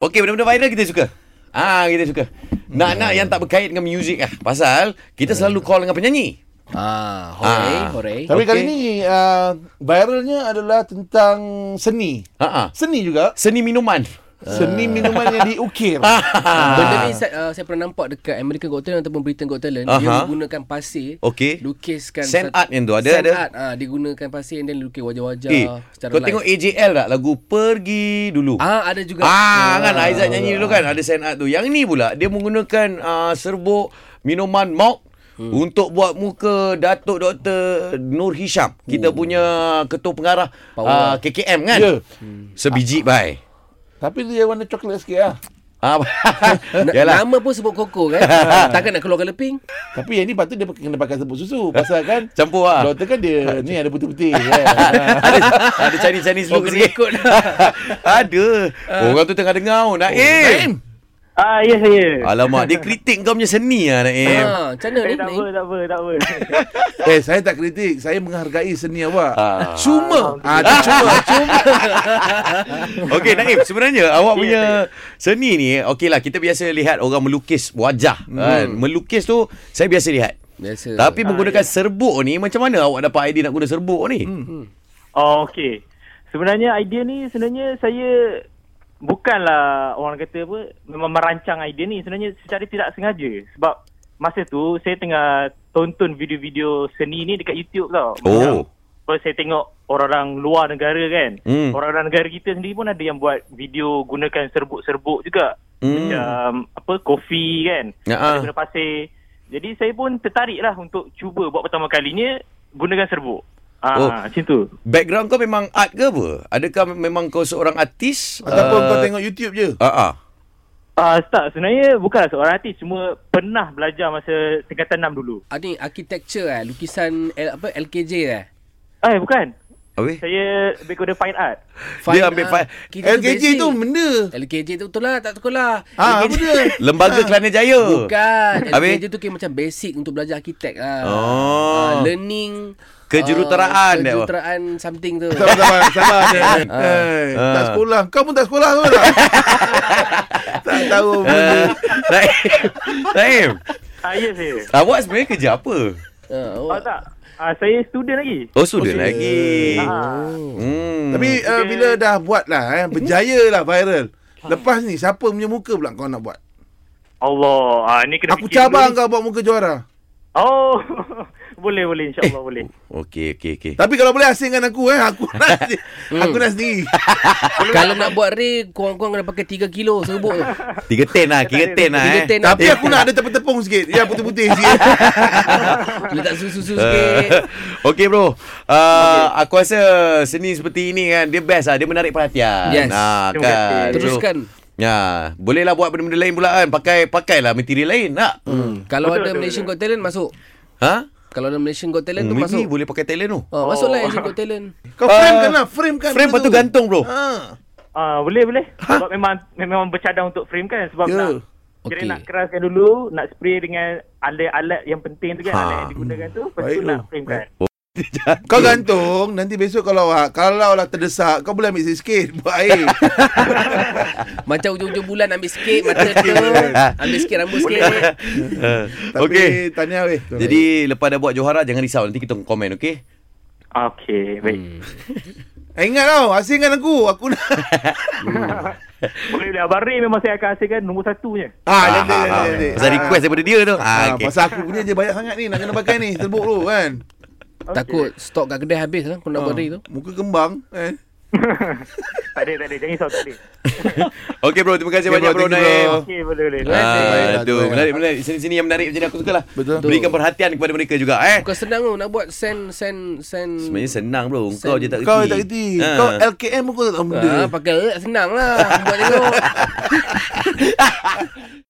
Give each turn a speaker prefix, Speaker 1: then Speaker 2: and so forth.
Speaker 1: Okey, benda-benda viral kita suka. Ah, kita suka. Nak-nak yang tak berkait dengan muzik ah. Pasal kita selalu call dengan penyanyi.
Speaker 2: Ah, hore,
Speaker 1: Ah.
Speaker 2: hore.
Speaker 1: Okey.
Speaker 3: Tapi kali ni uh, viralnya adalah tentang seni.
Speaker 1: Ha ah.
Speaker 3: Seni juga.
Speaker 1: Seni minuman.
Speaker 3: Seni minuman yang diukir.
Speaker 1: Ah.
Speaker 2: Benda ni saya, uh, saya pernah nampak dekat American Got Talent ataupun Britain Got Talent. Uh-huh. Dia
Speaker 1: Aha.
Speaker 2: menggunakan pasir.
Speaker 1: Okey.
Speaker 2: Lukiskan.
Speaker 1: Sand
Speaker 2: satu-
Speaker 1: art yang tu, ada,
Speaker 2: Sand
Speaker 1: ada.
Speaker 2: art. Uh, dia gunakan pasir and then lukis wajah-wajah
Speaker 1: Eh,
Speaker 2: lah, secara
Speaker 1: kau
Speaker 2: live.
Speaker 1: tengok AJL tak lagu Pergi Dulu.
Speaker 2: Ah, ada juga.
Speaker 1: Ah, kan Aizat nyanyi dulu kan ada sign art tu. Yang ni pula dia menggunakan uh, serbuk minuman malt hmm. untuk buat muka Datuk Dr Nur Hisham. Kita punya ketua pengarah uh,
Speaker 2: Power.
Speaker 1: KKM kan.
Speaker 3: Ya.
Speaker 1: Sebiji bai.
Speaker 3: Tapi dia warna coklat sikit lah.
Speaker 1: Ah,
Speaker 2: Na-
Speaker 1: yalah.
Speaker 2: Nama pun sebut koko kan. Takkan nak keluarkan leping.
Speaker 3: Tapi yang ni patut dia kena pakai sebut susu. Pasal kan
Speaker 1: Campur ah.
Speaker 3: doktor kan dia ni ada putih-putih. kan.
Speaker 1: ada ada Chinese-Chinese
Speaker 2: Oh,
Speaker 1: look
Speaker 2: kena
Speaker 1: sikit.
Speaker 2: ikut.
Speaker 1: ada. Orang tu tengah dengar oh, Naim.
Speaker 4: Ah, ya saya.
Speaker 1: Alamak, dia kritik kau punya seni ah Naim.
Speaker 2: Ah, macam mana
Speaker 4: Eh,
Speaker 2: ni?
Speaker 4: tak apa, tak apa, tak apa.
Speaker 3: eh saya tak kritik. Saya menghargai seni awak.
Speaker 1: Ah.
Speaker 3: Cuma. Ah, dia cuma. cuma.
Speaker 1: Okey Naim sebenarnya awak punya seni ni okeylah kita biasa lihat orang melukis wajah hmm. kan melukis tu saya biasa lihat
Speaker 2: Biasa.
Speaker 3: Ah,
Speaker 1: tapi menggunakan
Speaker 3: ya.
Speaker 1: serbuk ni macam mana awak dapat idea nak guna serbuk ni hmm.
Speaker 4: Oh, okey. Sebenarnya idea ni sebenarnya saya bukanlah orang kata apa memang merancang idea ni sebenarnya secara tidak sengaja sebab masa tu saya tengah tonton video-video seni ni dekat YouTube tau.
Speaker 1: oh
Speaker 4: Kalau saya tengok orang-orang luar negara kan.
Speaker 1: Hmm.
Speaker 4: Orang-orang negara kita sendiri pun ada yang buat video gunakan serbuk-serbuk juga.
Speaker 1: Hmm.
Speaker 4: Macam apa kopi kan.
Speaker 1: Ya, ah.
Speaker 4: Ada guna pasir. Jadi saya pun tertarik lah untuk cuba buat pertama kalinya gunakan serbuk. Ah,
Speaker 1: Oh.
Speaker 4: oh. macam tu.
Speaker 1: background kau memang art ke apa adakah memang kau seorang artis
Speaker 3: Ataupun kau tengok YouTube je.
Speaker 1: ah ah
Speaker 4: Ah, tak, sebenarnya bukanlah seorang artis cuma pernah belajar masa tingkatan 6 dulu.
Speaker 2: Ah, ni architecture eh. Lukisan L, apa LKJ eh.
Speaker 4: Eh, bukan.
Speaker 1: Habis?
Speaker 4: Saya lebih kepada fine art.
Speaker 1: Dia ambil
Speaker 2: art.
Speaker 1: file.
Speaker 2: ah. Kita
Speaker 3: LKJ
Speaker 2: basic.
Speaker 3: tu benda.
Speaker 2: LKJ tu betul lah. Tak betul lah.
Speaker 3: Ah, apa
Speaker 2: LKJ
Speaker 3: dia?
Speaker 1: lembaga Kelana Jaya
Speaker 2: Bukan.
Speaker 1: Habis?
Speaker 2: LKJ tu kira macam basic untuk belajar arkitek lah.
Speaker 1: Oh.
Speaker 2: Ah, learning.
Speaker 1: Kejuruteraan
Speaker 2: ah,
Speaker 1: dia apa?
Speaker 2: kejuruteraan something tu. Ah,
Speaker 3: Sabar, sabar, sabar. Jan. Eh,
Speaker 1: Ah.
Speaker 3: Tak sekolah. Kau pun tak sekolah tu tak? tak tahu benda.
Speaker 1: Eh, Naim Naim
Speaker 4: Ah, ya saya.
Speaker 1: awak sebenarnya kerja apa
Speaker 2: Ah,
Speaker 4: Oh,
Speaker 2: awak-
Speaker 4: tak. Ah, saya student lagi.
Speaker 1: oh sudah lagi
Speaker 4: Ah.
Speaker 1: hmm.
Speaker 3: Tapi uh, bila dah buat lah, eh,
Speaker 1: Mhm.
Speaker 3: berjaya lah viral.
Speaker 1: Ha.
Speaker 3: Lepas ni, siapa punya muka pula kau nak buat?
Speaker 4: Allah. Ah, ni kena
Speaker 3: Aku
Speaker 4: fikir dulu
Speaker 3: cabar
Speaker 4: ni.
Speaker 3: kau buat muka juara.
Speaker 4: Oh. boleh, boleh. InsyaAllah boleh.
Speaker 1: okey okey okey
Speaker 3: Tapi kalau boleh asingkan aku eh. Aku nak,
Speaker 1: Hmm.
Speaker 3: aku nak sendiri.
Speaker 2: Kalau nak buat ray, kurang-kurang kena pakai 3 kilo serbuk tu.
Speaker 1: Tiga ten lah Kira ten lah
Speaker 2: Tiga
Speaker 1: eh.
Speaker 2: ten lah.
Speaker 3: Tapi aku nak ada tepung-tepung sikit. Ya, putih-putih sikit.
Speaker 2: Letak
Speaker 1: Eh.
Speaker 2: susu-susu sikit.
Speaker 1: okay bro uh, Aku rasa seni seperti ini kan Dia best lah Dia menarik perhatian
Speaker 2: Yes.
Speaker 1: ah,
Speaker 4: Terima
Speaker 1: kan.
Speaker 4: kasih.
Speaker 1: So,
Speaker 2: Teruskan.
Speaker 1: Ya, bolehlah buat benda-benda lain pula kan. Pakai pakailah material lain nak. Hmm.
Speaker 2: Kalau
Speaker 4: Betul,
Speaker 2: ada
Speaker 4: betul,
Speaker 2: Malaysian Got Talent masuk.
Speaker 1: Ha?
Speaker 2: Kalau ada Malaysian Got Talent tu
Speaker 1: Hmm, Maybe
Speaker 2: masuk.
Speaker 1: boleh pakai talent tu.
Speaker 2: Oh, masuklah Malaysian Got Talent.
Speaker 3: Kau
Speaker 1: Ah,
Speaker 3: frame kan lah. Frame kan.
Speaker 1: Frame lepas tu gantung bro.
Speaker 3: Ha.
Speaker 4: Ah, boleh, boleh. Sebab memang memang bercadang untuk frame kan. Sebab
Speaker 3: Ya.
Speaker 4: nak
Speaker 2: Okey.
Speaker 4: Kira nak keraskan dulu, nak spray dengan alat-alat yang penting tu kan,
Speaker 1: Ha.
Speaker 4: alat yang digunakan tu, lepas
Speaker 3: Baik
Speaker 4: tu nak
Speaker 3: tu.
Speaker 4: frame kan.
Speaker 1: Hmm.
Speaker 3: Kau gantung Nanti besok kalau ah, Kalau lah terdesak Kau boleh ambil sikit-sikit Buat air
Speaker 2: Macam hujung-hujung bulan ambil sikit mata tu. Ambil sikit rambut sikit.
Speaker 3: Tapi
Speaker 1: okay.
Speaker 3: tanya weh
Speaker 1: Ah, Jadi lepas dah buat Johara jangan risau nanti kita komen okey.
Speaker 4: Ah, Okey, baik.
Speaker 3: eh, Ingat tau Asingkan aku Aku nak
Speaker 4: Boleh boleh. Abang Ray memang saya akan hasilkan nombor satu je.
Speaker 3: Ah,
Speaker 1: Ah,
Speaker 3: nanti,
Speaker 1: ah,
Speaker 3: nanti,
Speaker 1: ah.
Speaker 3: nanti.
Speaker 1: Pasal
Speaker 3: Ah.
Speaker 1: request daripada dia tu.
Speaker 3: Ah,
Speaker 1: Ah, okey.
Speaker 3: Pasal aku punya je banyak sangat ni Nak kena pakai ni Serbuk tu kan
Speaker 4: Okay.
Speaker 2: Takut stok kat kedai habis lah kalau nak buat
Speaker 3: Ah,
Speaker 2: ray tu.
Speaker 3: Muka kembang eh.
Speaker 4: tak ada, tak ada. Jangan risau, tak ada.
Speaker 1: Okey bro, terima kasih
Speaker 3: Okay,
Speaker 1: banyak
Speaker 3: bro,
Speaker 1: bro
Speaker 3: thank you,
Speaker 1: Naim.
Speaker 3: bro.
Speaker 4: Okey, boleh boleh.
Speaker 2: Ah.
Speaker 1: Ah,
Speaker 3: Baiklah,
Speaker 1: tu
Speaker 3: tu, eh.
Speaker 1: menarik menarik sini-sini yang menarik macam ni aku suka lah.
Speaker 3: Betul.
Speaker 1: Berikan perhatian kepada mereka juga eh.
Speaker 2: Bukan senang tu nak buat send send send.
Speaker 1: Sebenarnya senang bro. Kau je tak reti. Ah.
Speaker 3: Kau tak kerti Kau
Speaker 2: eh,
Speaker 3: LKM pun kau tak tahu benda
Speaker 2: Ah, pakai senang lah buat tengok.